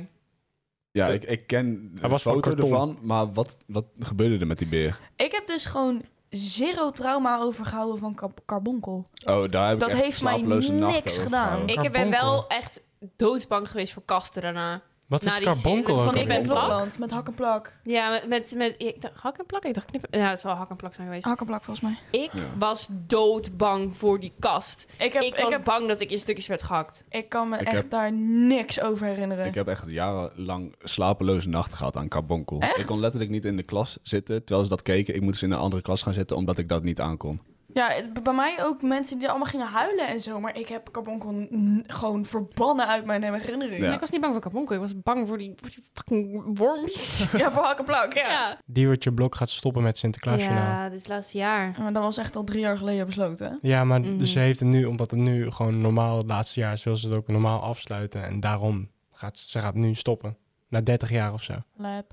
Ja, ik, ik ken de Hij was van foto karton. ervan, maar wat, wat gebeurde er met die beer? Ik heb dus gewoon zero trauma overgehouden van kar- Carbonkel. Oh, daar heb Dat ik echt heeft mij slapeloze nachten niks over gedaan. gehouden. Ik Carbonkel. ben wel echt doodsbang geweest voor kasten daarna. Wat Nou, is die carbonkel shit ook van ik alweer? ben plak. Nederland met hak en plak. Ja, met, met, met ik dacht, hak en plak. Ik dacht knip. Ja, het zal hak en plak zijn geweest. Hak en plak volgens mij. Ik Ja. was doodbang voor die kast. Ik, heb, ik ik, was heb, bang dat ik in stukjes werd gehakt. ik kan me Ik echt heb- daar niks over herinneren. Ik heb echt jarenlang slapeloze nachten gehad aan carbonkel. Echt? dus Ik kon letterlijk niet in de klas zitten terwijl ze dat keken. Ik moest in een andere klas gaan zitten omdat ik dat niet aankon. Ja, het- bij mij ook mensen die allemaal gingen huilen en zo. Maar ik heb Carbonkel n- gewoon verbannen uit mijn herinnering. Ja. Ja, Ik was niet bang voor kabonkel, ik was bang voor die, voor die fucking worms. voor hak en plak, ja. Ja, Diewertje Blok gaat stoppen met Sinterklaasjournaal. Ja. ja dit laatste jaar. Maar dat was echt al drie jaar geleden besloten, hè? maar dus Mhm. ze heeft het nu, omdat het nu gewoon normaal het laatste jaar is, wil ze het ook normaal afsluiten. En daarom gaat ze, ze gaat nu stoppen. Na 30 jaar of zo. Lab.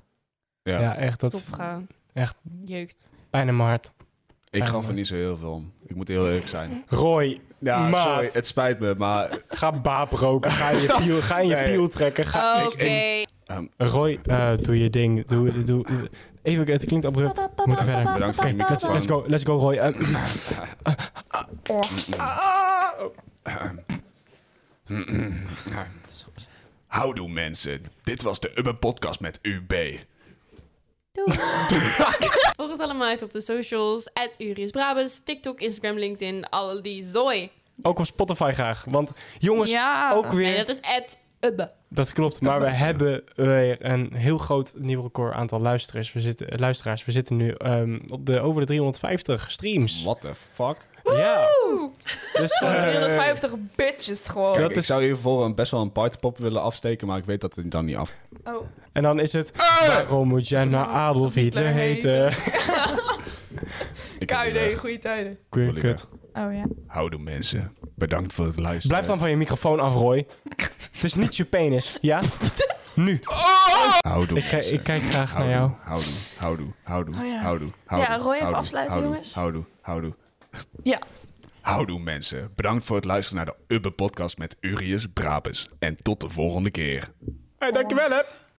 Ja. Ja, echt, Top dat vrouw. echt. Jeukt. pijn in mijn hart. Ik Ja, gaf er maar- niet zo heel veel om. Ik moet heel eerlijk zijn. Roy, Ja, Maat. sorry. Het spijt me, maar... ga baap roken. Ga in je piel, ga in je Nee. piel trekken. Ga, Oh, Oké. Ik- ik- ehm, Roy, eh, doe je ding. Doe, doe, even, het klinkt abrupt. We moeten verder. Bedankt voor Oké, je let's, microfoon. let's go, let's go Roy. Eh, Houdoe mensen. Dit was de Ubbe Podcast met UB. Volg ons allemaal even op de socials. At Urius Brabus, TikTok, Instagram, LinkedIn, alle die zooi. ook op Spotify graag. Want jongens, Ja. ook weer. Nee, dat is at Ubbe. Dat klopt, maar we hebben weer een heel groot nieuw record aantal luisteraars. We zitten, eh, luisteraars. We zitten nu ehm, op de over de 350 streams. What the fuck? Ja, Oeh, dus eh, 350 bitches gewoon. Kijk, Dat ik is- zou hiervoor een, best wel een partypop willen afsteken, maar ik weet dat het dan niet af... Oh, en dan is het. Waarom Ah! moet jij nou Adolf Hitler Hitler heten? Ik heb niet KUD, weg. goede tijden. Kut, kut. Oh ja. Houdoe mensen. Bedankt voor het luisteren. Blijf dan van je microfoon af, Roy. het is niet je penis, ja? Nu. Houdoe Ik, kijk- mensen. ik kijk graag naar Houdoe, jou. houdoe, houdoe, houdoe, Oh ja. houdoe, Ja, Roy, even houdoe, afsluiten, houdoe, jongens. Houdoe, houdoe. Ja. Houdoe mensen. Bedankt voor het luisteren naar de Ubbe podcast met Urius Brabus. En tot de volgende keer. Hey, dankjewel hè.